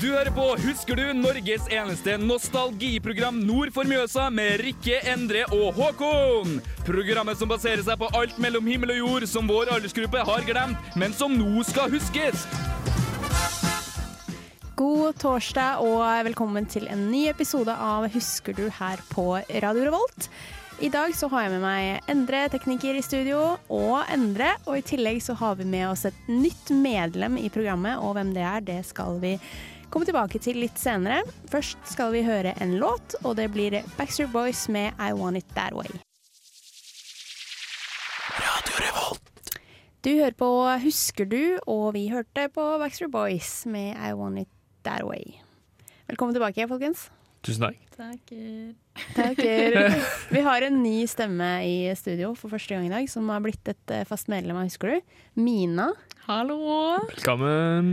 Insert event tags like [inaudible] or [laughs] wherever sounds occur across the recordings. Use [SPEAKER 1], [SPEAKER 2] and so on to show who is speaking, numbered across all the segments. [SPEAKER 1] Du hører på Husker du? Norges eneste nostalgiprogram nord for Mjøsa med Rikke, Endre og Håkon. Programmet som baserer seg på alt mellom himmel og jord som vår aldersgruppe har glemt, men som nå skal huskes.
[SPEAKER 2] God torsdag og velkommen til en ny episode av Husker du her på Radio Revolt. I dag så har jeg med meg Endre, tekniker i studio, og Endre. Og i tillegg så har vi med oss et nytt medlem i programmet, og hvem det er, det skal vi komme tilbake til litt senere. Først skal vi høre en låt, og det blir Backstreet Boys med I Want It That Way. Du hører på Husker du, og vi hørte på Backstreet Boys med I Want It That Way. Velkommen tilbake, folkens.
[SPEAKER 1] Tusen takk.
[SPEAKER 3] Takker.
[SPEAKER 4] [laughs]
[SPEAKER 2] Vi har en ny stemme i studio for første gang i dag, som har blitt et eh, fast medlem av Husker du. Mina.
[SPEAKER 3] Hallo!
[SPEAKER 1] Velkommen.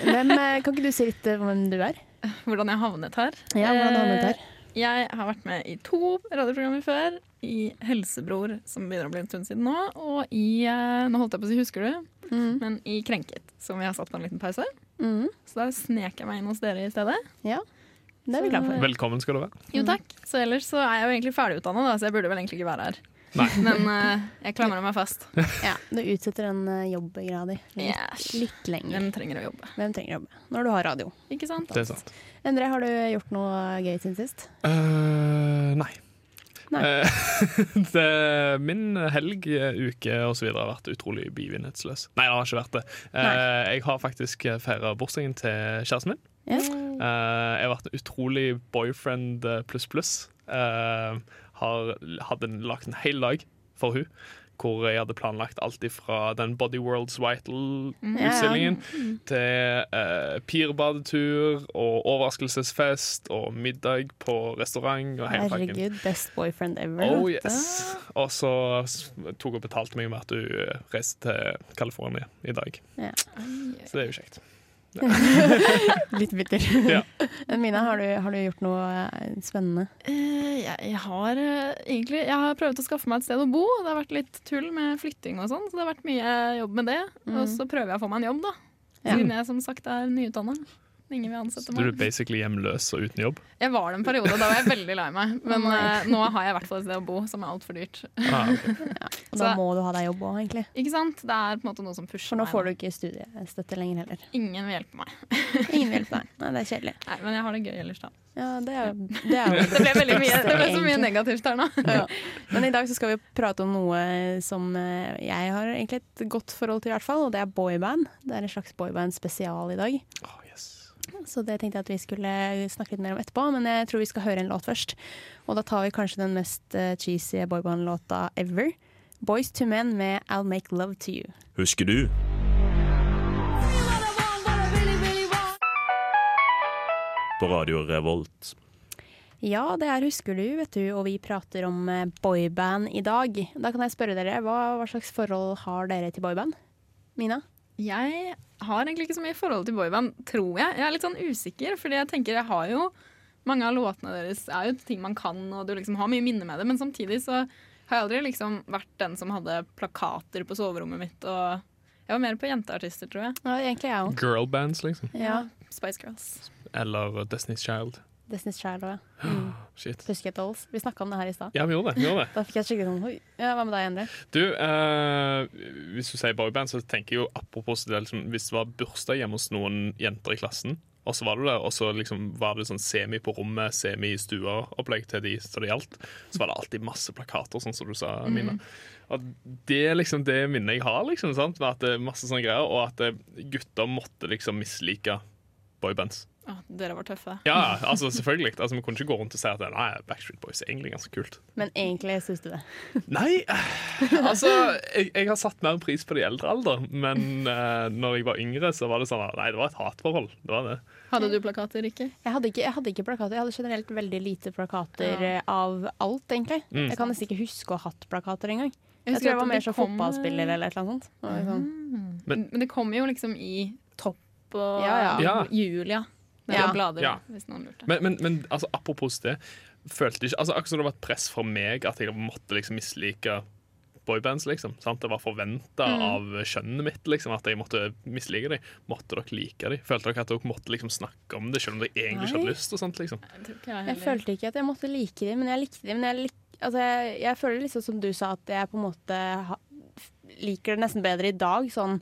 [SPEAKER 2] Hvem, eh, kan ikke du si litt eh, hvem du er?
[SPEAKER 3] Hvordan jeg havnet her?
[SPEAKER 2] Ja, hvordan du havnet her?
[SPEAKER 3] Eh, Jeg har vært med i to radioprogrammer før. I Helsebror, som begynner å bli en stund siden nå, og i eh, Nå holdt jeg på å si Husker du?
[SPEAKER 2] Mm.
[SPEAKER 3] Men i Krenket, som vi har satt på en liten pause.
[SPEAKER 2] Mm.
[SPEAKER 3] Så da snek jeg meg inn hos dere i stedet. Mm.
[SPEAKER 2] Ja, det er vi glad for.
[SPEAKER 4] Velkommen skal du være.
[SPEAKER 3] Jo takk. Så ellers så er jeg jo egentlig ferdigutdanna, da, så jeg burde vel egentlig ikke være her.
[SPEAKER 4] Nei.
[SPEAKER 3] [laughs] Men eh, jeg klamrer meg fast.
[SPEAKER 2] Ja, du utsetter den eh, jobbgrad i litt,
[SPEAKER 3] Yes.
[SPEAKER 2] litt lenger.
[SPEAKER 3] Hvem trenger å jobbe?
[SPEAKER 2] Hvem trenger jobbe når du har radio?
[SPEAKER 3] Ikke sant?
[SPEAKER 4] Det er sant.
[SPEAKER 2] Endre, har du gjort noe gøy siden sist?
[SPEAKER 4] Eh, nei.
[SPEAKER 2] Nei.
[SPEAKER 4] Eh, [laughs] det, min helg, eh, uke osv. har vært utrolig begivenhetsløs. Nei, det har ikke vært det. Eh, jeg har faktisk feira bursdagen til kjæresten min.
[SPEAKER 2] Ja.
[SPEAKER 4] Eh, jeg har vært en utrolig boyfriend eh, pluss pluss. Eh, har hadde en- lagt en hel dag for hun hvor jeg hadde planlagt alt ifra den Body Worlds Vital
[SPEAKER 3] Mm.
[SPEAKER 4] utstillingen til eh, pirbadetur og overraskelsesfest og middag på restaurant og hele pakken.
[SPEAKER 2] Herregud, best boyfriend ever.
[SPEAKER 4] Oh
[SPEAKER 2] vet du.
[SPEAKER 4] yes. Og så s- tok hun betalt meg med at hun eh, reiste til California i dag.
[SPEAKER 2] Ja.
[SPEAKER 4] Så det er jo kjekt.
[SPEAKER 2] [laughs] Litt bitter.
[SPEAKER 4] Ja.
[SPEAKER 2] Men [laughs] Mina, har du, har du gjort noe eh, spennende?
[SPEAKER 3] Eh, jeg, jeg har eh, egentlig jeg har prøvd å skaffe meg et sted å bo. Det har vært litt tull med flytting og sånn, så det har vært mye jobb med det. Og så prøver jeg å få meg en jobb, da.
[SPEAKER 2] Ja.
[SPEAKER 3] Siden jeg som sagt er nyutdanna. Ingen vil
[SPEAKER 4] Så
[SPEAKER 3] ansette
[SPEAKER 4] du er
[SPEAKER 3] meg.
[SPEAKER 4] basically hjemløs og uten jobb.
[SPEAKER 3] Jeg var det en periode, da var jeg veldig lei [laughs] meg. Men eh, nå har jeg i hvert fall et sted å bo som er altfor dyrt.
[SPEAKER 4] Ah, ok. [laughs]
[SPEAKER 2] Og da
[SPEAKER 3] Så-
[SPEAKER 2] må du ha deg jobb òg, egentlig.
[SPEAKER 3] Ikke sant? Det er på en måte noe som pusher
[SPEAKER 2] For nå
[SPEAKER 3] meg.
[SPEAKER 2] får du ikke studiestøtte lenger
[SPEAKER 3] [laughs]
[SPEAKER 2] heller.
[SPEAKER 3] Ingen vil hjelpe meg.
[SPEAKER 2] Ingen vil hjelpe deg. Nei, det er kjedelig.
[SPEAKER 3] Nei, men jeg har det gøy ellers, da.
[SPEAKER 2] Ja, det er, det er jo
[SPEAKER 3] [laughs] Det ble, veldig mye, det ble så mye
[SPEAKER 2] Egentlig.
[SPEAKER 3] negativt her nå.
[SPEAKER 2] ja. Men i dag så skal vi prate om noe som eh, jeg har egentlig et godt forhold til, i hvert fall. Og det er boyband. Det er en slags boyband spesial i dag.
[SPEAKER 4] Ah, yes.
[SPEAKER 2] Så det tenkte jeg at vi skulle snakke litt mer om etterpå, men jeg tror vi skal høre en låt først. Og da tar vi kanskje den mest eh, cheesy boyband-låta ever. Boys to Men med I'll Make Love to You.
[SPEAKER 5] Husker du? På Radio Revolt.
[SPEAKER 2] Ja, det her husker du, vet du, og vi prater om eh, boyband i dag. Da kan jeg spørre dere, hva, hva slags forhold har dere til boyband? Mina?
[SPEAKER 3] Jeg har egentlig ikke så mye forhold til boyband, tror jeg. Jeg er litt sånn usikker, fordi jeg tenker jeg har jo Mange av låtene deres er jo ting man kan, og du liksom har mye minner med det, men samtidig så har jeg aldri liksom vært den som hadde plakater på soverommet mitt, og jeg var mer på jenteartister, tror jeg.
[SPEAKER 2] Ja, egentlig jeg òg.
[SPEAKER 4] Girlbands, liksom.
[SPEAKER 2] Ja.
[SPEAKER 3] Spice Girls.
[SPEAKER 4] Eller Destiny's Child.
[SPEAKER 2] Destiny's Child Mm. og ja.
[SPEAKER 4] Shit.
[SPEAKER 2] Pussycat Dolls. Vi snakka om det her i stad.
[SPEAKER 4] Ja, vi gjorde det. Vi gjorde det.
[SPEAKER 2] Da fikk jeg skikkelig sånn Oi. Ja, hva med deg, Endre?
[SPEAKER 4] Du, eh, hvis du sier boyband, så tenker jeg jo apropos det, liksom, Hvis det var bursdag hjemme hos noen jenter i klassen, og så var du der, og så liksom var det sånn semi på rommet, semi i stua-opplegg til de så det gjaldt, så var det alltid masse plakater, sånn som du sa, Mina. Og det er liksom det minnet jeg har, liksom, sant? Med at det er masse sånne greier, og at eh, gutter måtte liksom mislike boybands.
[SPEAKER 3] Å, dere var tøffe.
[SPEAKER 4] Ja, altså selvfølgelig. Altså, vi kunne ikke gå rundt og si at nei, Backstreet Boys er egentlig ganske kult.
[SPEAKER 2] Men egentlig syns du det.
[SPEAKER 4] Nei, altså jeg, jeg har satt mer pris på det i eldre alder, men uh, når jeg var yngre, så var det sånn at, Nei, det var et hatforhold. Det var det.
[SPEAKER 3] Hadde du plakater, ikke?
[SPEAKER 2] Jeg hadde, ikke, jeg hadde ikke plakater. Jeg hadde generelt veldig lite plakater
[SPEAKER 3] Ja.
[SPEAKER 2] eh, av alt, egentlig.
[SPEAKER 4] Mm.
[SPEAKER 2] Jeg kan nesten ikke huske å ha hatt plakater engang.
[SPEAKER 3] Jeg
[SPEAKER 2] Jeg
[SPEAKER 3] husker
[SPEAKER 2] tror jeg
[SPEAKER 3] at
[SPEAKER 2] var
[SPEAKER 3] det
[SPEAKER 2] mer sånn
[SPEAKER 3] kom, eh,
[SPEAKER 2] fotballspiller eller et eller annet sånt. Det var Sånn.
[SPEAKER 4] Men-
[SPEAKER 3] Men det kommer jo liksom i Topp og
[SPEAKER 2] Ja,
[SPEAKER 4] ja. Ja.
[SPEAKER 3] Julia. Det
[SPEAKER 2] Ja.
[SPEAKER 3] var blader,
[SPEAKER 4] Ja.
[SPEAKER 3] hvis noen lurte.
[SPEAKER 4] Men, men, men altså, apropos det, følte ikke altså, Akkurat som det var et press for meg at jeg måtte liksom mislike boybands, liksom. Sant? Det var forventa av kjønnet mitt liksom, at jeg måtte mislike dem. Måtte dere like dem? Følte dere at dere måtte liksom, snakke om det, selv om dere egentlig ikke
[SPEAKER 2] Nei.
[SPEAKER 4] hadde lyst? Og sånt, liksom.
[SPEAKER 3] Jeg tror ikke
[SPEAKER 2] Jeg
[SPEAKER 3] jeg heller.
[SPEAKER 2] følte ikke at jeg måtte like dem, men jeg likte dem. Men jeg, lik, altså jeg, jeg føler liksom som du sa, at jeg på en måte ha, liker det nesten bedre i dag. Sånn,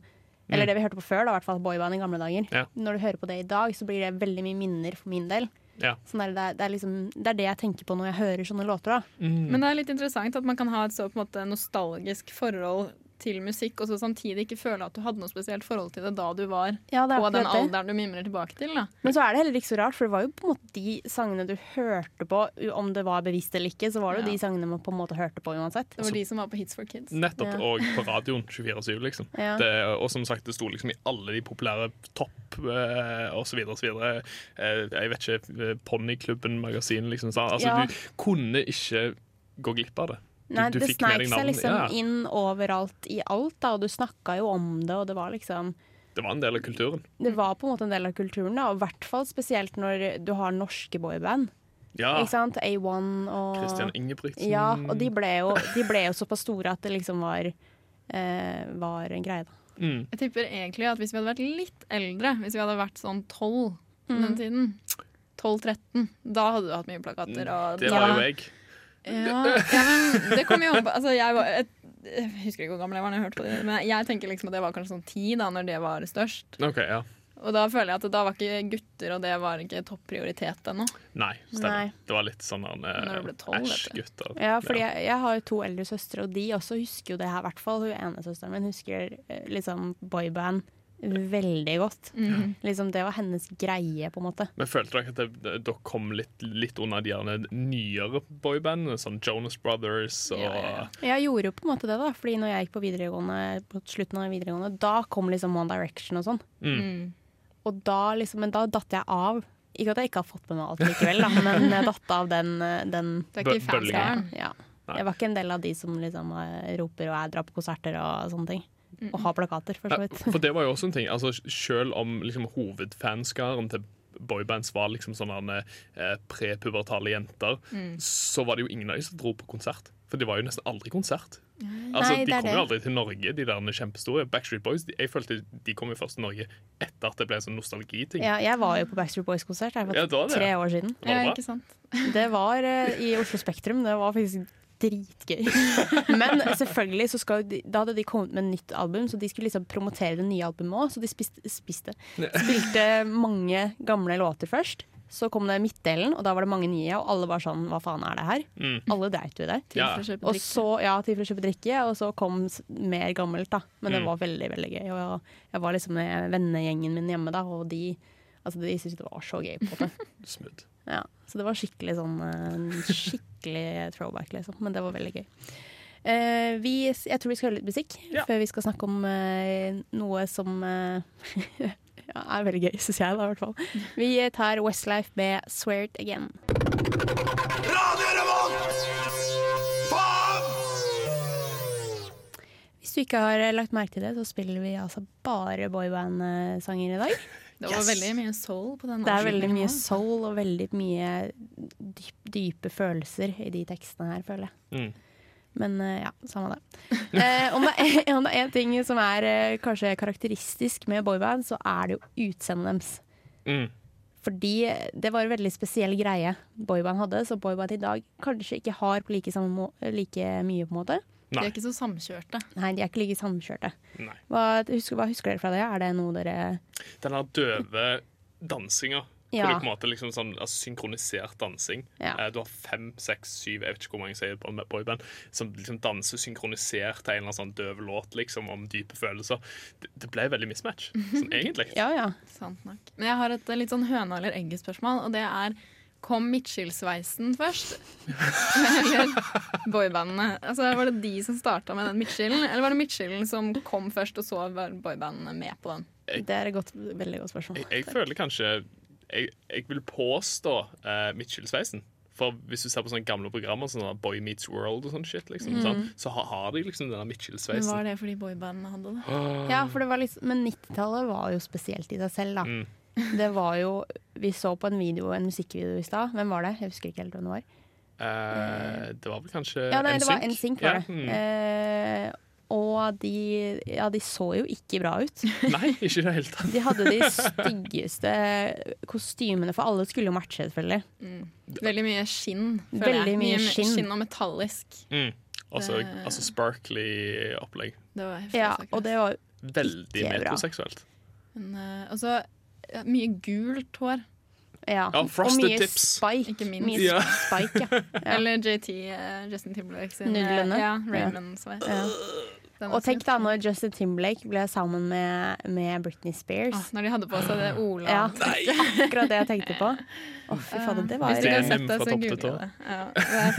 [SPEAKER 2] eller det vi hørte på før, da, i hvert fall boyband i gamle dager.
[SPEAKER 4] Mm. Ja.
[SPEAKER 2] Når du hører på det i dag, så blir det veldig mye minner for min del.
[SPEAKER 4] Ja.
[SPEAKER 2] Sånn der, det, er, det, er liksom, det er det jeg tenker på når jeg hører sånne låter. Da.
[SPEAKER 4] Mm.
[SPEAKER 3] Men det er litt interessant at man kan ha et så på en måte nostalgisk forhold til musikk, og så samtidig ikke føle at du hadde noe spesielt forhold til det da du var
[SPEAKER 2] Ja, det er
[SPEAKER 3] på den
[SPEAKER 2] akkurat det.
[SPEAKER 3] alderen du mimrer tilbake til. Da.
[SPEAKER 2] Men så er det heller ikke så rart, for det var jo på en måte de sangene du hørte på, u- om det var bevisst eller ikke, så var det jo
[SPEAKER 3] Ja.
[SPEAKER 2] de sangene man på en måte hørte på uansett.
[SPEAKER 4] Altså-
[SPEAKER 3] Det var de som var på Hits for Kids.
[SPEAKER 4] Nettopp.
[SPEAKER 2] Ja.
[SPEAKER 4] Og på radioen 24-7, liksom.
[SPEAKER 2] Ja.
[SPEAKER 4] Det, og som sagt, det sto liksom i alle de populære topp eh, og så videre og så videre. Eh, jeg vet ikke, eh, Ponyklubben, magasin, liksom. sant? Altså,
[SPEAKER 2] Ja.
[SPEAKER 4] Du kunne ikke gå glipp av det. Du,
[SPEAKER 2] Nei,
[SPEAKER 4] du
[SPEAKER 2] det
[SPEAKER 4] fikk med
[SPEAKER 2] sneik
[SPEAKER 4] deg
[SPEAKER 2] seg
[SPEAKER 4] navn.
[SPEAKER 2] liksom
[SPEAKER 4] Ja,
[SPEAKER 2] inn overalt i alt, da, og du snakka jo om det, og det var liksom
[SPEAKER 4] det var en del av kulturen.
[SPEAKER 2] Det var på en måte en del av kulturen, da, og i hvert fall spesielt når du har norske boyband.
[SPEAKER 4] Ja.
[SPEAKER 2] Ikke sant? A1
[SPEAKER 4] Ah.
[SPEAKER 2] og
[SPEAKER 4] Christian Ingebrigtsen.
[SPEAKER 2] Ja, og de ble, jo, de ble jo såpass store at det liksom var, eh, var en greie, da.
[SPEAKER 4] Mm.
[SPEAKER 3] Jeg tipper egentlig at hvis vi hadde vært litt eldre, hvis vi hadde vært sånn 12 på
[SPEAKER 2] Mm.
[SPEAKER 3] den tiden 12-13, da hadde du hatt mye plakater. Og
[SPEAKER 4] Mm, Det
[SPEAKER 3] da-
[SPEAKER 4] var jo jeg.
[SPEAKER 3] Ja, ja, men det kommer jo an på altså, jeg, var, jeg, jeg husker ikke hvor gammel jeg var når jeg hørte på det, men jeg tenker liksom at det var kanskje sånn 10 da når det var størst.
[SPEAKER 4] Ok, ja.
[SPEAKER 3] Og da føler jeg at da var ikke gutter og det var ikke topprioritet ennå.
[SPEAKER 4] Nei, stemmer.
[SPEAKER 2] Nei.
[SPEAKER 4] Det var litt sånn
[SPEAKER 3] Når du ble tolv, vet du.
[SPEAKER 4] Æsj-gutter.
[SPEAKER 2] Ja, fordi Jeg, jeg har jo to eldre søstre, og de også husker jo det her, i hvert fall. Hun ene søsteren min husker eh, liksom boyband veldig godt. Liksom Det var hennes greie, på en måte.
[SPEAKER 4] Men følte dere at det- det- dere kom litt, litt under de gjerne nyere boybandene, som Jonas Brothers og
[SPEAKER 3] Ja, ja, ja.
[SPEAKER 2] Jeg gjorde jo på en måte det, da. Fordi når jeg gikk på videregående, på slutten av videregående, da kom liksom One Direction og sånn.
[SPEAKER 4] Mm.
[SPEAKER 2] Og da liksom, Men da datt jeg av. Ikke at jeg ikke har fått med meg alt likevel, da, men jeg datt av den, eh, den
[SPEAKER 3] Du er ikke
[SPEAKER 4] Bø- bølgen.
[SPEAKER 2] ja.
[SPEAKER 3] fanskaren.
[SPEAKER 2] ja.
[SPEAKER 4] Nei.
[SPEAKER 2] Jeg var ikke en del av de som liksom eh, roper og jeg drar på konserter og sånne ting. Og har plakater, for så
[SPEAKER 4] Ja,
[SPEAKER 2] vidt.
[SPEAKER 4] For det var jo også en ting. Altså, selv om liksom, hovedfanskaren til boybands var liksom sånne eh, prepubertale jenter,
[SPEAKER 2] Mm.
[SPEAKER 4] så var det jo ingen av dem som dro på konsert. For det var jo nesten aldri konsert. Altså, de
[SPEAKER 2] Nei, det er
[SPEAKER 4] kom jo
[SPEAKER 2] det.
[SPEAKER 4] aldri til Norge, de der kjempestore. Backstreet Boys de, jeg følte de kom jo først til Norge etter at det ble en sånn nostalgiting.
[SPEAKER 2] Ja, jeg var jo på Backstreet Boys-konsert her for
[SPEAKER 4] Ja, det var det.
[SPEAKER 2] tre år siden.
[SPEAKER 4] Var det
[SPEAKER 3] Ja,
[SPEAKER 4] bra?
[SPEAKER 3] ikke sant?
[SPEAKER 2] Det var eh, i Oslo Spektrum. Det var faktisk dritgøy. [laughs] Men selvfølgelig så skal jo de, da hadde de kommet med nytt album, så de skulle liksom promotere det nye albumet òg. Så de spiste, spiste spilte mange gamle låter først. Så kom det midtdelen, og da var det mange nye, og alle var sånn hva faen er det her?
[SPEAKER 4] Mm.
[SPEAKER 2] Alle dreit jo i det.
[SPEAKER 3] Tid
[SPEAKER 4] Ja.
[SPEAKER 3] for å kjøpe
[SPEAKER 2] Og
[SPEAKER 3] drikke.
[SPEAKER 2] så, ja, til for å kjøpe drikke, og så kom s- mer gammelt, da. Men det
[SPEAKER 4] Mm.
[SPEAKER 2] var veldig, veldig gøy. Og jeg, jeg var liksom med vennegjengen min hjemme, da, og de, altså, de syntes det var så gøy. på en måte.
[SPEAKER 4] Smooth.
[SPEAKER 2] Ja, så det var skikkelig sånn eh, Skikkelig throwback, liksom. Men det var veldig gøy. Eh, vi, jeg tror vi skal høre litt musikk
[SPEAKER 4] Ja.
[SPEAKER 2] før vi skal snakke om eh, noe som eh, [laughs] ja, er veldig gøy, syns jeg da, i hvert fall. Vi tar Westlife med 'Swear It Again'. Hvis du ikke har eh, lagt merke til det, så spiller vi altså bare boyband-sanger i dag.
[SPEAKER 3] Det var veldig mye soul på den.
[SPEAKER 2] Det er veldig
[SPEAKER 3] avslutningen
[SPEAKER 2] mye
[SPEAKER 3] også.
[SPEAKER 2] soul og veldig mye dyp, dype følelser i de tekstene her, føler jeg.
[SPEAKER 4] Mm.
[SPEAKER 2] Men eh, ja, samme det. [laughs] Eh, om det er- om det er én ting som er eh, kanskje karakteristisk med boyband, så er det jo utseendet deres.
[SPEAKER 4] Mm.
[SPEAKER 2] Fordi det var en veldig spesiell greie boyband hadde, som boyband i dag kanskje ikke har på like, samme må like mye, på en måte.
[SPEAKER 3] De
[SPEAKER 4] Nei.
[SPEAKER 3] er ikke så samkjørte.
[SPEAKER 2] Nei, de er ikke like samkjørte.
[SPEAKER 4] Nei.
[SPEAKER 2] Hva husker, hva husker dere fra det? Er det noe dere
[SPEAKER 4] Den her døve dansinga.
[SPEAKER 2] Ja.
[SPEAKER 4] Hvor det på en måte liksom sånn altså, synkronisert dansing.
[SPEAKER 2] Ja.
[SPEAKER 4] Eh, Du har fem, seks, syv, jeg vet ikke hvor mange sier på en boyband, som liksom danser synkronisert til en eller annen sånn døv låt liksom, om dype følelser. Det, det ble veldig mismatch, sånn egentlig.
[SPEAKER 2] Mhm. Ja ja.
[SPEAKER 3] Sant nok. Men jeg har et eh, litt sånn høna eller egget-spørsmål, og det er Kom midtskillsveisen
[SPEAKER 4] [laughs]
[SPEAKER 3] først? Eller boybandene? Altså, var det de som starta med den midtskillen, eller var det midtskillen som kom først, og så var boybandene med på den?
[SPEAKER 4] Eh,
[SPEAKER 2] Det er et godt, veldig godt spørsmål.
[SPEAKER 4] Jeg, jeg føler kanskje Jeg, jeg vil påstå eh, Midtskillsveisen. For hvis du ser på sånne gamle programmer, sånn som Boy Meets World og sånn shit,
[SPEAKER 2] Mhm.
[SPEAKER 4] liksom, sant? så har, har de liksom denne
[SPEAKER 3] Men
[SPEAKER 4] Midtskillsveisen.
[SPEAKER 3] var det fordi boybandene hadde det?
[SPEAKER 2] Ja, for det var liksom, men 90-tallet var jo spesielt i seg selv, da.
[SPEAKER 4] Mm.
[SPEAKER 2] [laughs] Det var jo Vi så på en video, en musikkvideo i stad. Hvem var det? Jeg husker ikke helt hvem det var.
[SPEAKER 4] Eh, det var vel kanskje
[SPEAKER 2] Ja, nei, det var
[SPEAKER 4] NSYNC?
[SPEAKER 2] NSYNC, var det.
[SPEAKER 4] Ja, mm.
[SPEAKER 2] Eh, og de Ja, de så jo ikke bra ut.
[SPEAKER 4] Nei, ikke i det hele tatt.
[SPEAKER 2] De hadde de styggeste kostymene, for alle skulle jo matche, selvfølgelig.
[SPEAKER 3] Veldig mye skinn. føler
[SPEAKER 2] Veldig
[SPEAKER 3] jeg.
[SPEAKER 2] mye
[SPEAKER 3] me-
[SPEAKER 2] skinn.
[SPEAKER 3] og metallisk.
[SPEAKER 4] Mm. Altså,
[SPEAKER 3] Det-
[SPEAKER 4] altså sparkly opplegg.
[SPEAKER 3] Det var heftige
[SPEAKER 2] Ja,
[SPEAKER 3] saker.
[SPEAKER 2] og det var
[SPEAKER 4] Veldig
[SPEAKER 2] Ikke bra.
[SPEAKER 4] metroseksuelt.
[SPEAKER 3] Men, eh, og så eh, mye gult hår.
[SPEAKER 2] Ja,
[SPEAKER 4] Ja,
[SPEAKER 2] og
[SPEAKER 4] frosted
[SPEAKER 2] mye
[SPEAKER 4] tips.
[SPEAKER 2] spike.
[SPEAKER 3] Ikke minst.
[SPEAKER 2] Mye
[SPEAKER 4] Ja.
[SPEAKER 2] spike,
[SPEAKER 3] [laughs]
[SPEAKER 2] ja. Ja.
[SPEAKER 3] Eller JT, eh, Justin Timberlake sin eh,
[SPEAKER 2] Nudlene.
[SPEAKER 3] Ja, Raymond. som er-
[SPEAKER 2] Ja.
[SPEAKER 3] den
[SPEAKER 2] Eh, Og
[SPEAKER 3] også.
[SPEAKER 2] tenk da når Justin Timberlake ble sammen med, med Britney
[SPEAKER 3] Ah,
[SPEAKER 2] Spears.
[SPEAKER 3] når de hadde på seg det Ola
[SPEAKER 2] Ja, akkurat det jeg tenkte på. Å, fy fader, det var
[SPEAKER 3] Hvis du ikke har
[SPEAKER 4] Det-
[SPEAKER 3] sett det,
[SPEAKER 4] fra
[SPEAKER 3] så
[SPEAKER 4] topp til
[SPEAKER 3] googler
[SPEAKER 4] tå.
[SPEAKER 3] det. Ja, det er
[SPEAKER 2] [laughs]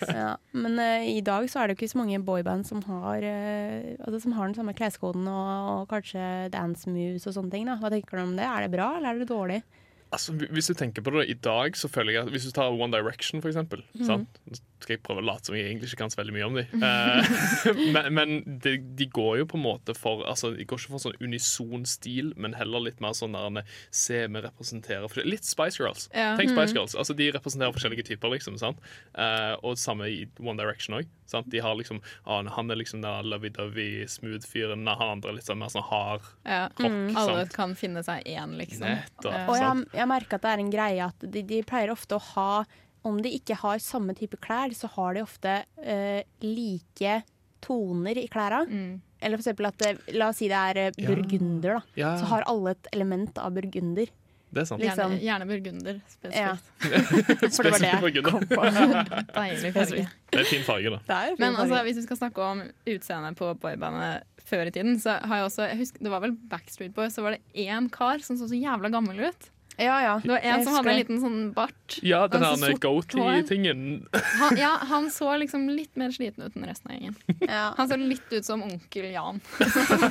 [SPEAKER 3] fantastisk.
[SPEAKER 2] ja. Men eh, i dag så er det jo ikke så mange boyband som har, eh, altså, som har den samme kleskoden og, og kanskje dance moves og sånne ting. Da. Hva tenker du om det? Er det bra, eller er det dårlig?
[SPEAKER 4] Altså, hvi- hvis du tenker på det i dag, så føler jeg at hvis du tar One Direction, for eksempel sant? Nå skal jeg prøve å late som jeg egentlig ikke kan så veldig mye om dem. [laughs] men men de, de går jo på en måte for altså, De går ikke for sånn unison stil, men heller litt mer sånn der Se, vi representerer forskjell- Litt Spice Girls.
[SPEAKER 3] Ja.
[SPEAKER 4] Tenk Spice Girls. Altså, de representerer forskjellige typer, liksom. sant? Eh, og samme i One Direction òg. De har liksom ah, Han er liksom den lovey-dovey, smooth-fyren. Han andre er litt sånn mer sånn hard
[SPEAKER 3] Ja.
[SPEAKER 4] rock.
[SPEAKER 3] Alle
[SPEAKER 4] sant?
[SPEAKER 3] kan finne seg én, liksom.
[SPEAKER 4] Nettopp.
[SPEAKER 3] Ja.
[SPEAKER 2] Mm. Og jeg,
[SPEAKER 4] sant?
[SPEAKER 2] jeg merker at det er en greie at de, de pleier ofte å ha Om de ikke har samme type klær, så har de ofte eh, like toner i klærne. Eller for eksempel at det, La oss si det er eh, burgunder, da.
[SPEAKER 4] Ja.
[SPEAKER 2] Så har alle et element av burgunder.
[SPEAKER 4] Det er sant.
[SPEAKER 2] Liksom.
[SPEAKER 3] Gjerne, gjerne burgunder
[SPEAKER 2] Ja.
[SPEAKER 3] spesifikt.
[SPEAKER 2] For det var det
[SPEAKER 4] Spesifikt
[SPEAKER 2] jeg kom på.
[SPEAKER 3] Deilig farge.
[SPEAKER 4] Det er en fin farge, da.
[SPEAKER 2] Det er jo
[SPEAKER 3] Men
[SPEAKER 2] fin
[SPEAKER 3] altså,
[SPEAKER 2] farge.
[SPEAKER 3] hvis vi skal snakke om utseendet på boybandet før i tiden, så har jeg også jeg husker, Det var vel Backstreet Boys, så var det én kar som så så jævla gammel ut.
[SPEAKER 2] ja, ja.
[SPEAKER 3] Det var
[SPEAKER 2] Jeg
[SPEAKER 3] en som hadde
[SPEAKER 2] husker
[SPEAKER 3] en
[SPEAKER 2] det.
[SPEAKER 3] liten sånn bart.
[SPEAKER 4] Ja, den
[SPEAKER 3] Og så
[SPEAKER 4] der
[SPEAKER 3] sort hår.
[SPEAKER 4] goatee-tingen.
[SPEAKER 3] Han, ja, han så liksom litt mer sliten ut enn resten av gjengen.
[SPEAKER 2] Ja.
[SPEAKER 3] Han så litt ut som onkel Jan. [laughs]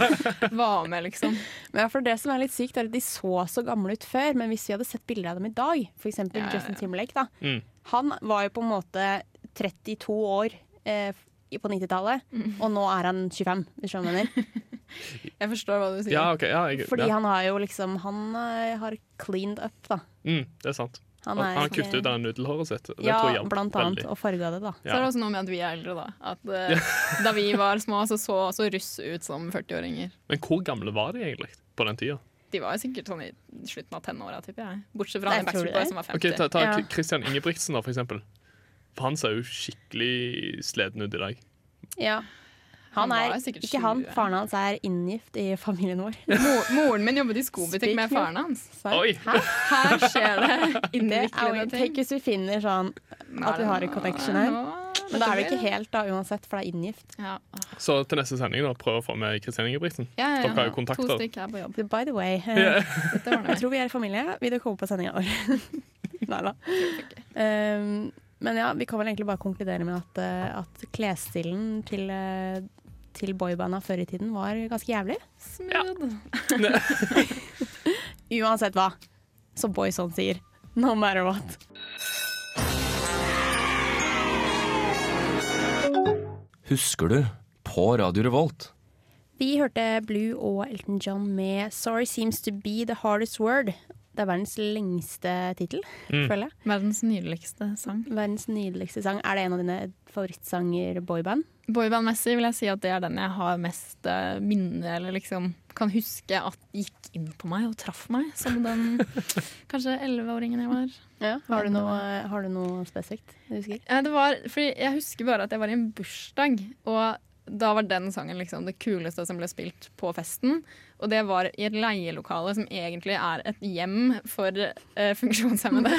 [SPEAKER 3] Var med, liksom.
[SPEAKER 2] [laughs] Men ja, for det som er litt sykt, er at de så så gamle ut før, men hvis vi hadde sett bilder av dem i dag, f.eks.
[SPEAKER 3] Ja, ja, ja.
[SPEAKER 2] Justin Timberlake, da,
[SPEAKER 4] Mm.
[SPEAKER 2] han var jo på en måte 32 år eh, på 90-tallet,
[SPEAKER 3] Mm.
[SPEAKER 2] og nå er han 25, hvis du skjønner hva jeg mener.
[SPEAKER 3] Jeg forstår hva du sier.
[SPEAKER 4] Ja, ok. Ja, [laughs] jeg,
[SPEAKER 2] Fordi
[SPEAKER 4] ja.
[SPEAKER 2] han har jo liksom Han eh, har cleaned up, da.
[SPEAKER 4] Mm, det er sant. Han, han har kuttet ut det nudelhåret sitt. Det
[SPEAKER 2] Ja,
[SPEAKER 4] tror jeg hjalp
[SPEAKER 2] blant annet.
[SPEAKER 4] veldig.
[SPEAKER 2] Og farga det, da.
[SPEAKER 3] Så er det også noe med at vi er eldre, da. At eh, [laughs] da vi var små, så så også russ ut som 40-åringer.
[SPEAKER 4] Men hvor gamle var de egentlig på den tida?
[SPEAKER 3] De var jo sikkert sånn i slutten av tenåra, tipper jeg. Bortsett fra
[SPEAKER 2] Nei,
[SPEAKER 3] han i
[SPEAKER 2] tror du
[SPEAKER 3] Backstreet Boys
[SPEAKER 2] det?
[SPEAKER 3] som var 50.
[SPEAKER 4] Ok, ta, ta
[SPEAKER 2] Ja.
[SPEAKER 4] K- Christian Ingebrigtsen, da, for eksempel. For han ser jo skikkelig sliten ut i dag.
[SPEAKER 2] Ja. Han
[SPEAKER 3] Han
[SPEAKER 2] er
[SPEAKER 3] var jo sikkert
[SPEAKER 2] ikke han.
[SPEAKER 3] 20.
[SPEAKER 2] Faren hans er inngift i familien vår.
[SPEAKER 3] Mo- Moren min jobbet i skobutikk med
[SPEAKER 2] Speak now.
[SPEAKER 3] faren hans.
[SPEAKER 2] Så-
[SPEAKER 4] Oi!
[SPEAKER 2] Hæ?
[SPEAKER 3] Her skjer det
[SPEAKER 2] [laughs] Det er jo
[SPEAKER 3] innviklede ting.
[SPEAKER 2] Tenk hvis vi finner sånn at vi har en connection her. Men da er det ikke helt, da, uansett, for det er inngift.
[SPEAKER 3] ja.
[SPEAKER 4] Så til neste sending, da, prøv å få med Christian Ingebrigtsen.
[SPEAKER 3] Ja, ja, ja.
[SPEAKER 4] Dere har jo kontakter.
[SPEAKER 3] To stykker er på jobb.
[SPEAKER 2] By the way, eh,
[SPEAKER 3] [laughs] Dette ordner
[SPEAKER 2] jeg
[SPEAKER 3] vi.
[SPEAKER 2] tror vi er i familie. Vil dere komme på sendinga vår? [laughs] Nei da. Um, men ja, vi kan vel egentlig bare konkludere med at, eh, at klesstilen til, eh, til boybanda før i tiden var ganske jævlig.
[SPEAKER 3] Smooth.
[SPEAKER 2] Uansett hva, som Boyson sier. No matter what.
[SPEAKER 6] Husker du? På Radio Revolt.
[SPEAKER 2] Vi hørte Blue og Elton John med 'Sorry Seems To Be The Hardest Word'. Det er verdens lengste tittel,
[SPEAKER 3] Mm.
[SPEAKER 2] føler jeg.
[SPEAKER 3] Verdens nydeligste sang.
[SPEAKER 2] Verdens nydeligste sang. Er det en av dine favorittsanger, boyband?
[SPEAKER 3] Boyband-messig vil jeg si at det er den jeg har mest eh, minne, eller liksom kan huske at gikk inn på meg og traff meg, som [laughs] den kanskje elleveåringen jeg var.
[SPEAKER 2] Har, du noe, eh, har du noe spesifikt du husker?
[SPEAKER 3] Eh, Det var, fordi jeg husker bare at jeg var i en bursdag, og da var den sangen liksom det kuleste som ble spilt på festen. Og det var i et leielokale som egentlig er et hjem for eh, funksjonshemmede. [laughs]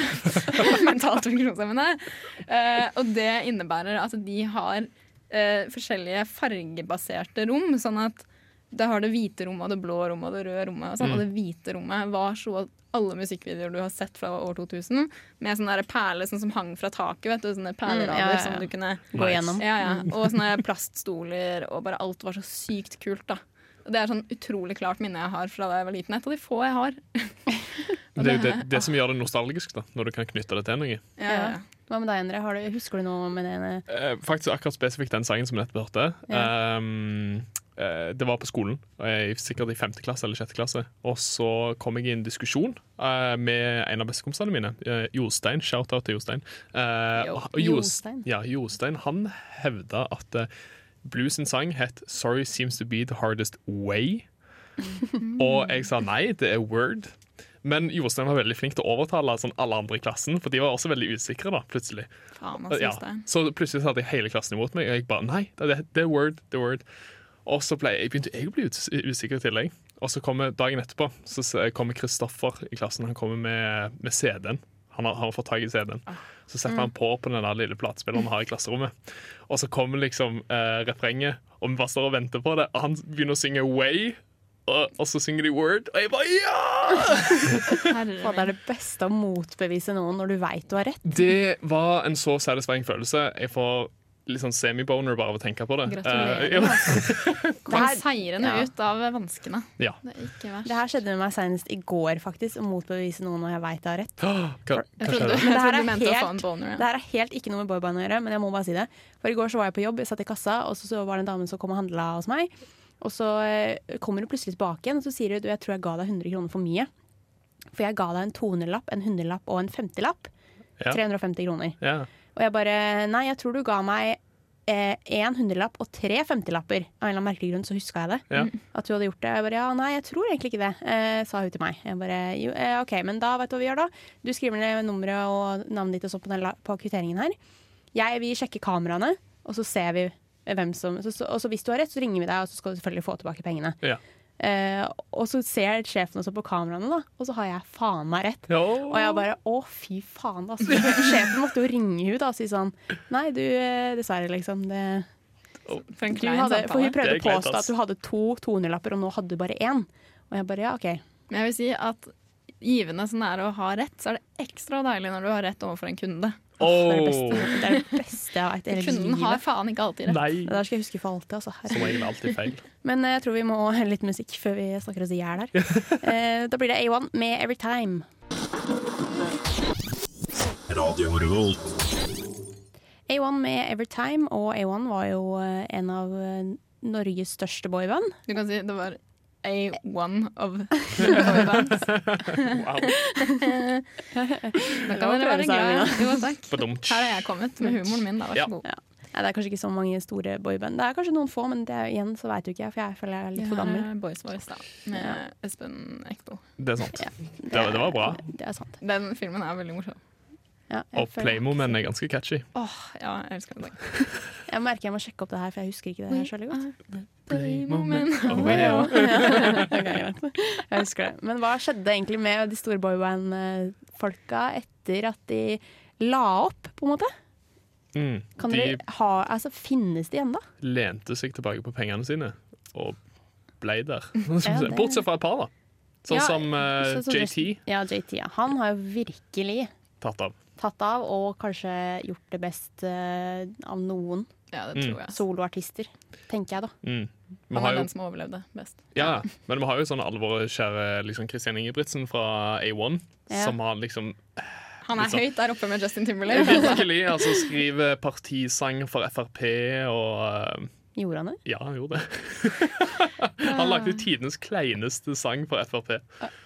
[SPEAKER 3] mentalt funksjonshemmede. Eh, og det innebærer at de har eh, forskjellige fargebaserte rom, sånn at da har det hvite rommet og det blå rommet og det røde rommet. Og, sånn. og det
[SPEAKER 2] Mm.
[SPEAKER 3] hvite rommet var så alle musikkvideoer du har sett fra år 2000, med sånne der perler sånn som hang fra taket, vet du, sånne perlerader
[SPEAKER 2] Mm, ja, ja, ja.
[SPEAKER 3] som du kunne
[SPEAKER 2] Gå igjennom.
[SPEAKER 3] ja, ja. Og sånne plaststoler, og bare alt var så sykt kult, da. Det er sånn utrolig klart minne jeg har fra da jeg var liten. Et av de få jeg har.
[SPEAKER 4] Det er jo det, det som gjør det nostalgisk, da, når du kan knytte det til noe.
[SPEAKER 3] Ja, ja. ja.
[SPEAKER 2] Hva med deg, Endre? Har du, husker du noe med det?
[SPEAKER 4] Eh, faktisk akkurat spesifikt den sangen som vi nettopp hørte. Ehm, eh, det var på skolen, eh, sikkert i femte klasse eller sjette klasse. Og så kom jeg i en diskusjon eh, med en av bestekompisene mine, eh, Jostein. Shout-out til Jostein. Eh,
[SPEAKER 3] Jo.
[SPEAKER 4] og Jos-
[SPEAKER 2] Jostein.
[SPEAKER 4] Ja, Jostein han hevda at eh, Blues sin sang het 'Sorry Seems To Be The Hardest Way'. Og jeg sa nei, det er Word. Men Jostein var veldig flink til å overtale sånn, alle andre i klassen, for de var også veldig usikre. da, plutselig.
[SPEAKER 3] [laughs] Faen, altså,
[SPEAKER 4] Ja,
[SPEAKER 3] Jostein.
[SPEAKER 4] Så plutselig så hadde jeg hele klassen imot meg, og jeg bare Nei, det, er- det er Word. det er word Og så ble jeg, begynte jeg å bli us- usikker i tillegg. Og så kommer dagen etterpå Så s- kommer Kristoffer i klassen. Han kommer med, med CD-en. Han har, han har fått tak i CD-en. Så setter han på på den der lille platespilleren han har i klasserommet. Og så kommer liksom eh, refrenget, og vi bare står og venter på det. Og han begynner å synge Way, og, og så synger de Word, og jeg bare Ja!
[SPEAKER 3] Herre
[SPEAKER 2] Det
[SPEAKER 3] min.
[SPEAKER 2] er det beste å motbevise noen når du veit du har rett.
[SPEAKER 4] Det var en så satisfying følelse. Jeg får litt sånn semiboner bare av å tenke på det. Eh, ja.
[SPEAKER 3] Gratulerer. altså. Kom
[SPEAKER 2] Det her-
[SPEAKER 3] seirende
[SPEAKER 2] ja.
[SPEAKER 3] ut av vanskene.
[SPEAKER 4] Ja.
[SPEAKER 3] Det er ikke verst.
[SPEAKER 2] Det her skjedde med meg senest i går, faktisk. Å motbevise noen når jeg veit jeg har rett.
[SPEAKER 4] Hva,
[SPEAKER 3] jeg
[SPEAKER 4] hva
[SPEAKER 3] trodde,
[SPEAKER 4] skjedde?
[SPEAKER 2] Men det her
[SPEAKER 3] jeg trodde
[SPEAKER 2] er
[SPEAKER 3] du mente å
[SPEAKER 2] helt-
[SPEAKER 3] få en boner.
[SPEAKER 2] Det
[SPEAKER 3] Ja.
[SPEAKER 2] her er helt ikke noe med boyband å gjøre, men jeg må bare si det. For i går så var jeg på jobb, jeg satt i kassa, og så, så var det en dame som kom og handla hos meg. Og så eh, kommer hun plutselig tilbake igjen og så sier hun, du, jeg tror jeg ga deg 100 kroner for mye. For jeg ga deg en 200-lapp, en 100-lapp og en 50-lapp.
[SPEAKER 4] Ja.
[SPEAKER 2] 350 kroner.
[SPEAKER 4] Ja.
[SPEAKER 2] Og jeg bare Nei, jeg tror du ga meg eh, en hundrelapp og tre femtilapper. Av en eller annen merkelig grunn så huska jeg det.
[SPEAKER 4] Ja.
[SPEAKER 2] At du hadde gjort det. Jeg bare ja, nei, jeg tror egentlig ikke det, eh, sa hun til meg. Jeg bare jo, eh, OK, men da vet du hva vi gjør da. Du skriver ned nummeret og navnet ditt og så på, den, la- på kvitteringen her. Jeg vil sjekke kameraene, og så ser vi hvem som så, så, Og så hvis du har rett, så ringer vi deg, og så skal du selvfølgelig få tilbake pengene.
[SPEAKER 4] Ja.
[SPEAKER 2] Eh, og så ser sjefen også på kameraene, da, og så har jeg faen meg rett. Og jeg bare å, fy faen, altså. Sjefen måtte jo ringe ut da, og si sånn Nei, du, eh, dessverre, liksom. Det,
[SPEAKER 3] For en
[SPEAKER 2] du
[SPEAKER 3] klein
[SPEAKER 2] hadde, for hun
[SPEAKER 3] samtale.
[SPEAKER 2] prøvde
[SPEAKER 4] Det
[SPEAKER 2] å
[SPEAKER 4] er kleint,
[SPEAKER 2] påstå
[SPEAKER 4] ass.
[SPEAKER 2] at du hadde to 200-lapper, og nå hadde du bare én. Og jeg bare ja, OK.
[SPEAKER 3] Men jeg vil si at givende som det er å ha rett, så er det ekstra deilig når du har rett overfor en kunde.
[SPEAKER 2] Det er det
[SPEAKER 4] Åh,
[SPEAKER 2] beste, det er det beste jeg vet i hele
[SPEAKER 3] Kunden har
[SPEAKER 2] livet.
[SPEAKER 3] faen ikke alltid rett.
[SPEAKER 4] Nei.
[SPEAKER 2] Det der skal jeg huske for alltid. Altså.
[SPEAKER 4] Som
[SPEAKER 2] Herregud.
[SPEAKER 4] regel alltid feil.
[SPEAKER 2] Men eh, jeg tror vi må [laughs] høre litt musikk før vi snakker oss i
[SPEAKER 4] [laughs]
[SPEAKER 2] hjel her. Eh, Da blir det A1 med 'Every Time'.
[SPEAKER 5] Radio Revolt.
[SPEAKER 2] A1 med 'Every Time', og A1 var jo eh, en av eh, Norges største boyband.
[SPEAKER 3] Du kan si det var A1
[SPEAKER 2] [laughs]
[SPEAKER 3] of boybands.
[SPEAKER 4] Wow,
[SPEAKER 3] Da
[SPEAKER 2] Det var
[SPEAKER 3] kan dere være glad.
[SPEAKER 2] prøveseieren
[SPEAKER 3] Jo, takk.
[SPEAKER 4] for dumt.
[SPEAKER 3] Her er jeg kommet med humoren min, da. Vær
[SPEAKER 4] Ja.
[SPEAKER 3] så god.
[SPEAKER 2] Nei, det er kanskje ikke så mange store boyband. Det er kanskje noen få, men det er, igjen så veit du ikke jeg, for jeg føler jeg er litt for
[SPEAKER 3] Vi
[SPEAKER 2] gammel.
[SPEAKER 3] har Boys Voice, da. Med Espen Eckbo.
[SPEAKER 4] Det er sant. Det var, det var bra.
[SPEAKER 2] Det er sant.
[SPEAKER 3] Den filmen er veldig morsom.
[SPEAKER 2] Ja, jeg
[SPEAKER 4] Og
[SPEAKER 2] føler-
[SPEAKER 4] Playmo-menn er ganske catchy.
[SPEAKER 3] Åh, ja, jeg elsker den.
[SPEAKER 2] Jeg merker jeg må sjekke opp det her, for jeg husker ikke det her sjøl godt.
[SPEAKER 4] Playmomen.
[SPEAKER 2] Ja. Ok, greit. jeg husker det. Men hva skjedde egentlig med de store boyband-folka etter at de la opp, på en måte?
[SPEAKER 4] Mm.
[SPEAKER 2] Kan
[SPEAKER 4] De
[SPEAKER 2] dere ha, altså, finnes de ennå?
[SPEAKER 4] lente seg tilbake på pengene sine og ble der.
[SPEAKER 2] det-
[SPEAKER 4] [laughs] Bortsett fra et par, da. Sånn
[SPEAKER 2] Ja,
[SPEAKER 4] som eh,
[SPEAKER 2] Sånn som resten-
[SPEAKER 4] JT
[SPEAKER 2] Ja, JT. Ja. Han har jo virkelig
[SPEAKER 4] tatt av.
[SPEAKER 2] tatt av, og kanskje gjort det best eh, av noen.
[SPEAKER 3] Ja, det tror jeg.
[SPEAKER 2] soloartister, tenker jeg da.
[SPEAKER 4] Mm. Vi
[SPEAKER 3] Han
[SPEAKER 4] Mm. har
[SPEAKER 3] er
[SPEAKER 4] jo,
[SPEAKER 3] den som overlevde best.
[SPEAKER 4] ja, men vi har jo sånn alvoret kjære liksom Christian Ingebrigtsen fra A1,
[SPEAKER 2] Ja.
[SPEAKER 4] som har liksom
[SPEAKER 2] [laughs]
[SPEAKER 3] Han er
[SPEAKER 4] Liksom.
[SPEAKER 3] høyt der oppe med Justin Timberlake.
[SPEAKER 4] virkelig altså, skriver partisang for Frp og eh,
[SPEAKER 2] Gjorde han det?
[SPEAKER 4] Ja, han gjorde det. [laughs] han lagde
[SPEAKER 2] Ah.
[SPEAKER 4] tidenes kleineste sang for Frp.
[SPEAKER 2] Er-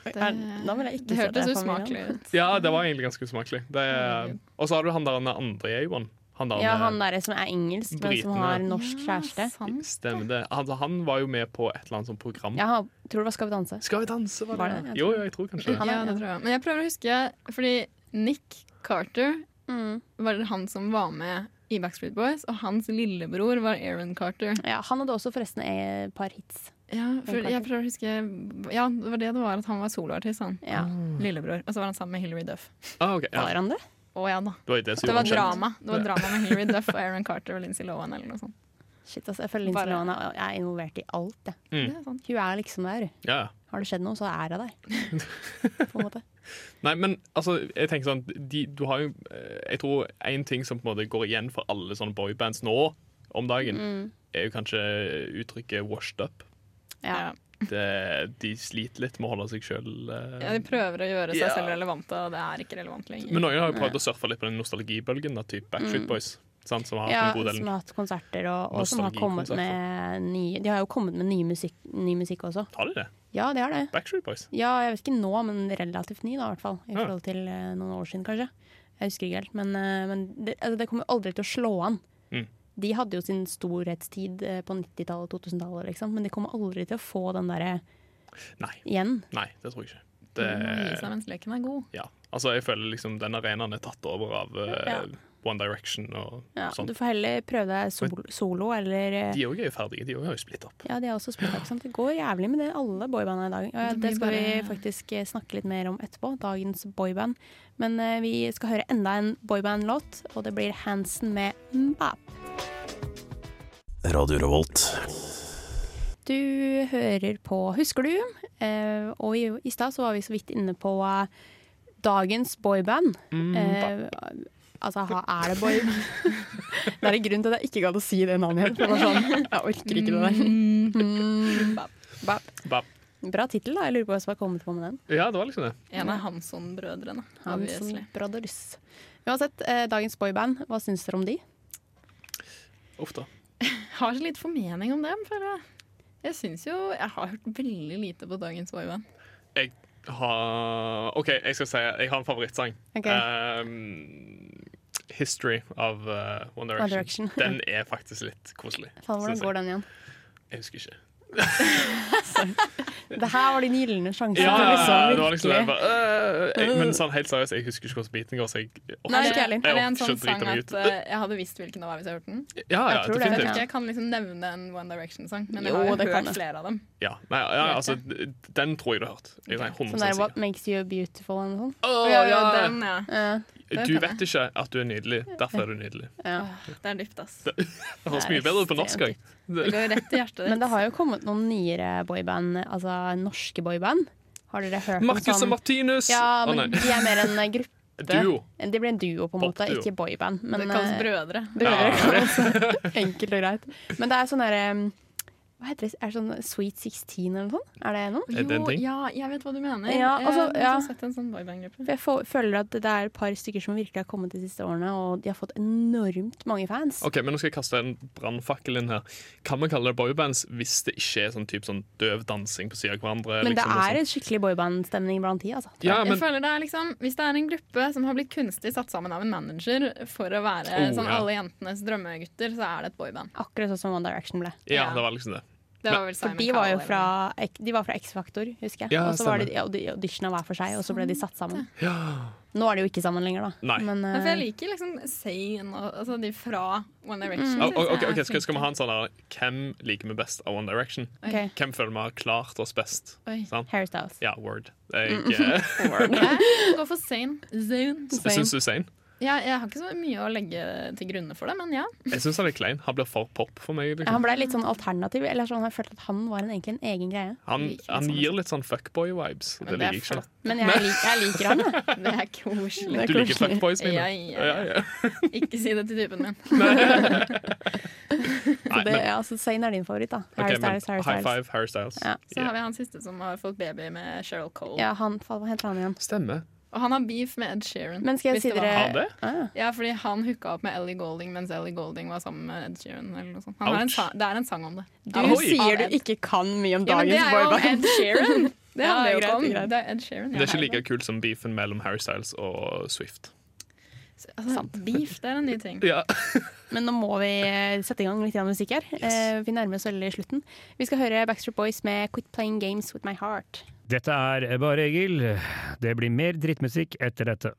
[SPEAKER 2] da vil jeg ikke
[SPEAKER 3] det
[SPEAKER 2] se det
[SPEAKER 3] hørtes
[SPEAKER 2] på familien.
[SPEAKER 3] usmakelig ut.
[SPEAKER 4] Ja, det var egentlig ganske usmakelig. Det, og så har du han der den andre i A1. Han der
[SPEAKER 2] Ah, Ja, han der som er engelsk, men som
[SPEAKER 4] Britene.
[SPEAKER 2] har norsk kjæreste.
[SPEAKER 3] sant.
[SPEAKER 4] Stemmer det. Altså, han var jo med på et eller annet sånt program.
[SPEAKER 2] Jeg har, tror det var Skal vi danse.
[SPEAKER 4] Skal vi danse, var det?
[SPEAKER 2] Var det det? Jeg
[SPEAKER 4] Jo, jo, jeg tror kanskje det.
[SPEAKER 2] Han er-
[SPEAKER 3] Ja, det tror jeg. Men jeg prøver å huske, fordi Nick Carter
[SPEAKER 2] Mm.
[SPEAKER 3] var han som var med i Backstreet Boys, og hans lillebror var Aaron Carter.
[SPEAKER 2] Ja, han hadde også forresten et par hits.
[SPEAKER 3] Ja, for jeg prøver å huske Ja, det var det det var, at han var soloartist, han.
[SPEAKER 2] Ja.
[SPEAKER 3] Lillebror. Og så var han sammen med Hilary Duff.
[SPEAKER 4] Ah, ok, Mm, ja.
[SPEAKER 2] Var han det?
[SPEAKER 3] Å ja da.
[SPEAKER 4] Det var jo det som gjorde
[SPEAKER 3] Det var
[SPEAKER 4] han kjent.
[SPEAKER 3] drama Det var drama
[SPEAKER 4] [laughs]
[SPEAKER 3] med Hilary Duff og Aaron Carter og Lindsay Lohan eller noe sånt.
[SPEAKER 2] Shit, altså, jeg føler Lindsay
[SPEAKER 3] Bare-
[SPEAKER 2] Lohan er- er involvert i alt. Jeg.
[SPEAKER 4] Mm.
[SPEAKER 3] Det er sant.
[SPEAKER 2] Hun er liksom der.
[SPEAKER 4] Ja.
[SPEAKER 2] Har det skjedd noe, så er hun der. [laughs] På en måte.
[SPEAKER 4] Nei, men altså, jeg tenker sånn de, Du har jo eh, Jeg tror én ting som på en måte går igjen for
[SPEAKER 2] Mm.
[SPEAKER 4] alle sånne boybands nå om dagen, er jo kanskje uttrykket 'washed up'.
[SPEAKER 2] Ja.
[SPEAKER 3] Ja.
[SPEAKER 4] Det, de sliter litt med å holde seg sjøl
[SPEAKER 3] Ja, de prøver å gjøre seg
[SPEAKER 4] Ja.
[SPEAKER 3] selv relevante, og det er ikke relevant lenger.
[SPEAKER 4] Men noen har jo prøvd å surfe litt på den nostalgibølgen, da, typ Backstreet Boys. Sant, som har hatt
[SPEAKER 2] Mm. Ja,
[SPEAKER 4] en god del
[SPEAKER 2] som har hatt konserter, og, og som har kommet
[SPEAKER 4] Nostalgikonserter.
[SPEAKER 2] med nye De har jo kommet med ny musikk, ny musikk også.
[SPEAKER 4] Har de det?
[SPEAKER 2] Ja, det har det.
[SPEAKER 4] Backstreet Boys?
[SPEAKER 2] Ja, jeg vet ikke nå, men relativt ny, da, i hvert fall. I
[SPEAKER 4] Ja.
[SPEAKER 2] forhold til eh, noen år siden, kanskje. Jeg husker ikke helt. Men, eh, men det, altså, det kommer jo aldri til å slå an.
[SPEAKER 4] Mm.
[SPEAKER 2] De hadde jo sin storhetstid eh, på 90-tallet og 2000-tallet, liksom. Men de kommer aldri til å få den derre
[SPEAKER 4] Nei.
[SPEAKER 2] igjen.
[SPEAKER 4] Nei, det tror jeg ikke.
[SPEAKER 3] Det...
[SPEAKER 2] Mm,
[SPEAKER 4] Det,
[SPEAKER 3] må gi seg mens leken er god.
[SPEAKER 4] ja. Altså, jeg føler liksom den arenaen er tatt over av eh,
[SPEAKER 2] Ja.
[SPEAKER 4] One Direction og
[SPEAKER 2] Ja,
[SPEAKER 4] sånn.
[SPEAKER 2] Du får heller prøve deg sol, solo, eller eh,
[SPEAKER 4] De òg er jo ferdige. De også har jo splitt opp.
[SPEAKER 2] Ja, de har også spilt, ikke sant? Det går jævlig med det, alle boybanda i dag. Og
[SPEAKER 3] Det
[SPEAKER 2] det
[SPEAKER 3] blir
[SPEAKER 2] skal vi
[SPEAKER 3] bare-
[SPEAKER 2] faktisk eh, snakke litt mer om etterpå, dagens boyband. Men eh, vi skal høre enda en boyband-låt, og det blir Hansen med Mbap.
[SPEAKER 5] Radio Revolt.
[SPEAKER 2] Du hører på Husker du? Eh, og i, i stad så var vi så vidt inne på eh, dagens boyband. Eh, altså, ha, er det boy... [laughs] det er en grunn til at jeg ikke gadd å si det navnet igjen. for det var Sånn, jeg orker ikke det der. Mbap. Mbap.
[SPEAKER 4] Bap.
[SPEAKER 2] Bra tittel, da. Jeg lurer på hvem som har kommet på med den.
[SPEAKER 4] Ja, det var liksom det.
[SPEAKER 3] En av Hansson-brødrene.
[SPEAKER 2] Hansen
[SPEAKER 3] obviously.
[SPEAKER 2] Brothers. Uansett, eh, dagens boyband, hva syns dere om de?
[SPEAKER 4] Uff da.
[SPEAKER 3] Har så lite formening om dem, føler jeg. Jeg syns jo Jeg har hørt veldig lite på dagens boyband.
[SPEAKER 4] Jeg har OK, jeg skal si jeg har en favorittsang.
[SPEAKER 2] Ok.
[SPEAKER 4] Um, History av eh, One Direction.
[SPEAKER 2] One Direction. [laughs]
[SPEAKER 4] Den er faktisk litt koselig.
[SPEAKER 2] Faen, hvordan
[SPEAKER 4] synes jeg.
[SPEAKER 2] går den igjen?
[SPEAKER 4] Jeg husker ikke.
[SPEAKER 2] [laughs] Det her var din gylne sjanse.
[SPEAKER 4] Ja,
[SPEAKER 2] til å liksom
[SPEAKER 4] det var liksom det.
[SPEAKER 2] virkelig-
[SPEAKER 4] Jeg bare, øh, jeg, men sånn helt seriøst, jeg husker ikke hvordan beaten går. Så jeg, orker-
[SPEAKER 2] Nei, ikke jeg
[SPEAKER 3] er,
[SPEAKER 2] heller.
[SPEAKER 3] det
[SPEAKER 4] Jeg
[SPEAKER 3] en sånn
[SPEAKER 4] orker
[SPEAKER 3] sang
[SPEAKER 4] ikke å drite meg
[SPEAKER 3] at eh, jeg hadde visst hvilken det var hvis jeg hørte den?
[SPEAKER 4] ja, ja,
[SPEAKER 2] jeg tror det,
[SPEAKER 3] Jeg vet
[SPEAKER 4] definitivt.
[SPEAKER 3] ikke, jeg kan liksom nevne en One Direction-sang, men jeg
[SPEAKER 2] Jo,
[SPEAKER 3] har jo
[SPEAKER 2] det kan
[SPEAKER 3] hørt
[SPEAKER 2] jeg.
[SPEAKER 3] flere av dem.
[SPEAKER 4] Ja, nei, ja,
[SPEAKER 3] Vet
[SPEAKER 4] altså, den tror jeg du har hørt. Jeg er
[SPEAKER 2] Sånn
[SPEAKER 4] 100
[SPEAKER 2] der
[SPEAKER 4] sikker.
[SPEAKER 2] What makes you beautiful og noe sånt.
[SPEAKER 4] Åh,
[SPEAKER 3] Ja, ja,
[SPEAKER 4] ja.
[SPEAKER 3] den, ja.
[SPEAKER 2] Eh,
[SPEAKER 3] den
[SPEAKER 4] Du
[SPEAKER 3] kan
[SPEAKER 4] vet ikke at du er nydelig, derfor er du nydelig.
[SPEAKER 2] ja.
[SPEAKER 3] Det er dypt, ass.
[SPEAKER 4] Det høres
[SPEAKER 2] Det er
[SPEAKER 4] mye bedre ut på norsk
[SPEAKER 2] ekstremt
[SPEAKER 4] òg.
[SPEAKER 3] Det går rett i hjertet ditt.
[SPEAKER 2] Men det har jo kommet noen nyere boyband, altså norske boyband. Har dere hørt om
[SPEAKER 4] Marcus og
[SPEAKER 2] sånn?
[SPEAKER 4] Martinus!
[SPEAKER 2] Ja,
[SPEAKER 4] Å,
[SPEAKER 2] [laughs] men
[SPEAKER 4] nei.
[SPEAKER 2] de er mer en eh, gruppe.
[SPEAKER 4] [laughs] Duo.
[SPEAKER 2] De blir en duo, på en måte,
[SPEAKER 4] Popduo.
[SPEAKER 2] ikke boyband. Men,
[SPEAKER 3] Det kalles
[SPEAKER 2] eh,
[SPEAKER 3] brødre.
[SPEAKER 2] Brødre,
[SPEAKER 4] Ja.
[SPEAKER 2] kan også. [laughs] Enkelt og greit. Men det er sånn derre Hva heter det? Er det sånn Sweet 16 eller noe sånt? Er det noe?
[SPEAKER 4] Er det en
[SPEAKER 3] Jo,
[SPEAKER 4] ting?
[SPEAKER 3] ja, jeg vet hva du mener.
[SPEAKER 2] Ja, altså,
[SPEAKER 3] jeg
[SPEAKER 2] ja.
[SPEAKER 3] har sett en sånn boyband-gruppe.
[SPEAKER 2] For jeg fo- føler at det er et par stykker som virkelig har kommet de siste årene, og de har fått enormt mange fans.
[SPEAKER 4] Ok, men Nå skal jeg kaste en brannfakkel inn her. Kan man kalle det boybands hvis det ikke er sånn, typ, sånn døv dansing på siden av hverandre?
[SPEAKER 2] Men det
[SPEAKER 4] liksom, og
[SPEAKER 2] er
[SPEAKER 4] sånn?
[SPEAKER 2] en skikkelig boybandstemning blant de, altså.
[SPEAKER 4] ja,
[SPEAKER 3] Jeg
[SPEAKER 4] men,
[SPEAKER 3] føler det er liksom, Hvis det er en gruppe som har blitt kunstig satt sammen av en manager for å være
[SPEAKER 4] Oh,
[SPEAKER 3] sånn
[SPEAKER 4] ja.
[SPEAKER 3] alle jentenes drømmegutter, så er det et boyband.
[SPEAKER 2] Akkurat sånn som One Direction ble.
[SPEAKER 4] ja, det var liksom det.
[SPEAKER 3] Det var vel
[SPEAKER 2] For
[SPEAKER 3] Simon
[SPEAKER 2] de var jo
[SPEAKER 3] Cowell,
[SPEAKER 2] fra, de var fra X-Faktor, husker jeg.
[SPEAKER 4] Ja,
[SPEAKER 2] og så var
[SPEAKER 4] stemmer.
[SPEAKER 2] de audi- auditionet hver for seg, og så ble de satt sammen.
[SPEAKER 4] Ja.
[SPEAKER 2] Nå er de jo ikke sammen lenger, da.
[SPEAKER 4] Nei.
[SPEAKER 2] Men,
[SPEAKER 3] eller- Men for jeg
[SPEAKER 2] eh,
[SPEAKER 3] liker liksom Zayn og altså de fra One Direction.
[SPEAKER 4] Oh,
[SPEAKER 3] synes
[SPEAKER 4] oh,
[SPEAKER 3] jeg
[SPEAKER 4] ok,
[SPEAKER 3] Mm, er
[SPEAKER 4] ok, skal, skal vi
[SPEAKER 3] flinke.
[SPEAKER 4] ha en sånn her Hvem liker vi best av One Direction?
[SPEAKER 2] ok,
[SPEAKER 4] Hvem føler vi har klart oss best?
[SPEAKER 3] Oi.
[SPEAKER 4] Sant?
[SPEAKER 2] Harry Styles.
[SPEAKER 4] Ja, word. Jeg, eh,
[SPEAKER 3] Jeg går for Zayn. Zayn.
[SPEAKER 4] jeg syns Usain.
[SPEAKER 3] Ja, jeg har ikke så mye å legge til grunne for det, men ja.
[SPEAKER 4] Jeg syns han er klein. Han blir for pop for meg.
[SPEAKER 2] Ja,
[SPEAKER 4] Liksom.
[SPEAKER 2] han ble litt sånn alternativ, eller sånn, jeg følte at han var en, egentlig en egen greie.
[SPEAKER 4] Han, han gir litt sånn fuckboy-vibes. Det
[SPEAKER 3] det
[SPEAKER 4] liker
[SPEAKER 3] er
[SPEAKER 4] jeg ikke.
[SPEAKER 3] flott.
[SPEAKER 2] Men jeg, lik, jeg liker
[SPEAKER 4] [laughs]
[SPEAKER 2] han, da.
[SPEAKER 3] Det er
[SPEAKER 2] [laughs]
[SPEAKER 3] koselig.
[SPEAKER 4] Du liker fuckboys, Mine?
[SPEAKER 3] Ja, ja, ja.
[SPEAKER 4] ja.
[SPEAKER 3] Ikke si det til typen min.
[SPEAKER 4] Nei,
[SPEAKER 2] Det,
[SPEAKER 4] men,
[SPEAKER 2] ja, altså, Zayn er din favoritt, da.
[SPEAKER 4] ok,
[SPEAKER 2] Harry
[SPEAKER 4] men
[SPEAKER 2] Styles, Harry
[SPEAKER 4] high
[SPEAKER 2] Styles.
[SPEAKER 4] five, Harry Styles.
[SPEAKER 2] Ja.
[SPEAKER 3] Så har vi han siste som har fått baby med Cheryl Cole.
[SPEAKER 2] Ja, han, faen, hva heter han igjen?
[SPEAKER 4] Stemmer.
[SPEAKER 3] Og han har beef med Ed Sheeran.
[SPEAKER 2] Men skal jeg
[SPEAKER 3] hvis
[SPEAKER 2] si
[SPEAKER 3] det var
[SPEAKER 2] dere-
[SPEAKER 3] han.
[SPEAKER 4] Har han det?
[SPEAKER 2] Ah,
[SPEAKER 3] Ja, fordi han hooka opp med Ellie Golding mens Ellie Golding var sammen med Ed Sheeran. Eller noe sånt. Han har en
[SPEAKER 4] Ouch.
[SPEAKER 3] sa det er en sang om det.
[SPEAKER 2] du
[SPEAKER 4] Oi.
[SPEAKER 2] sier du ikke kan mye om
[SPEAKER 3] Ja,
[SPEAKER 2] dagens
[SPEAKER 3] men det er jo om
[SPEAKER 2] boyband.
[SPEAKER 3] Ed
[SPEAKER 2] [laughs]
[SPEAKER 3] Sheeran! Det
[SPEAKER 2] Ja,
[SPEAKER 3] handler
[SPEAKER 2] greit,
[SPEAKER 3] jo ikke om
[SPEAKER 2] greit.
[SPEAKER 3] det er Ed Sheeran.
[SPEAKER 4] Det er ikke like kult som beefen mellom Harry Styles og Swift.
[SPEAKER 3] altså, Beef, det er en ny ting.
[SPEAKER 4] Ja.
[SPEAKER 2] Men nå må vi eh, sette i gang litt grann musikk her. Eh, vi nærmer oss veldig slutten. Vi skal høre Backstreet Boys med 'Quit Playing Games With My Heart'.
[SPEAKER 7] Dette er Bare Egil. Det blir mer drittmusikk etter dette.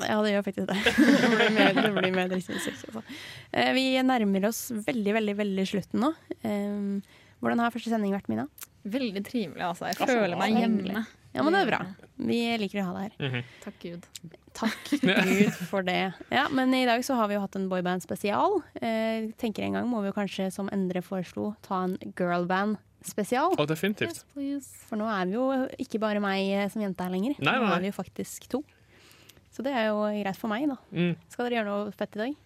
[SPEAKER 2] Ja, det gjør faktisk [laughs] det. Det blir mer, det blir mer drittmusikk. Altså. Eh, vi nærmer oss veldig, veldig veldig slutten nå. Eh, hvordan har første sending vært, Mina?
[SPEAKER 3] Veldig trivelig, altså. Jeg føler meg
[SPEAKER 2] hyggelig.
[SPEAKER 3] hjemme.
[SPEAKER 2] Ja, men det er bra. Vi liker å ha deg her.
[SPEAKER 4] Mhm.
[SPEAKER 3] Takk Gud.
[SPEAKER 2] Takk
[SPEAKER 4] [laughs]
[SPEAKER 2] Gud for det. Ja, men i dag så har vi jo hatt en boyband-spesial. Eh, tenker en gang må vi jo kanskje, som Endre foreslo, ta en girlband-spesial.
[SPEAKER 4] Og definitivt.
[SPEAKER 3] Yes, please.
[SPEAKER 2] For nå er vi jo ikke bare meg eh, som jente her lenger.
[SPEAKER 4] Nei, nei,
[SPEAKER 2] Nå
[SPEAKER 4] nei.
[SPEAKER 2] er vi jo faktisk to. Så det er jo greit for meg, da.
[SPEAKER 4] Mm.
[SPEAKER 2] Skal dere gjøre noe fett i dag?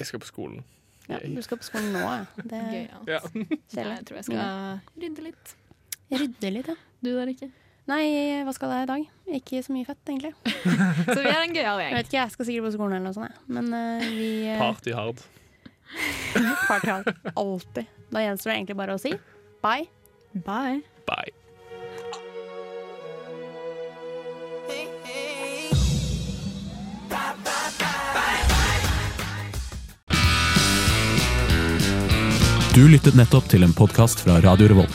[SPEAKER 4] Jeg skal på skolen.
[SPEAKER 2] Ja, du skal på skolen nå, ja. Det
[SPEAKER 3] Gøy, ja.
[SPEAKER 4] Ja.
[SPEAKER 3] Nei,
[SPEAKER 2] kjedelig.
[SPEAKER 3] jeg tror jeg skal rydde litt.
[SPEAKER 2] Rydde litt, ja.
[SPEAKER 3] Du der
[SPEAKER 2] [laughs]
[SPEAKER 3] ikke.
[SPEAKER 2] Nei, hva skal jeg i dag? Ikke så mye fett, egentlig.
[SPEAKER 3] Så vi er en
[SPEAKER 2] Jeg
[SPEAKER 3] gøyal gjeng.
[SPEAKER 2] vet ikke, jeg skal sikkert på skolen eller noe sånt, jeg. Men eh, vi eh,
[SPEAKER 4] Party hard.
[SPEAKER 2] party har alltid. Da gjenstår det egentlig bare å si bye.
[SPEAKER 3] Bye.
[SPEAKER 4] Bye.
[SPEAKER 5] Du lyttet nettopp til en podkast fra Radio Revolt.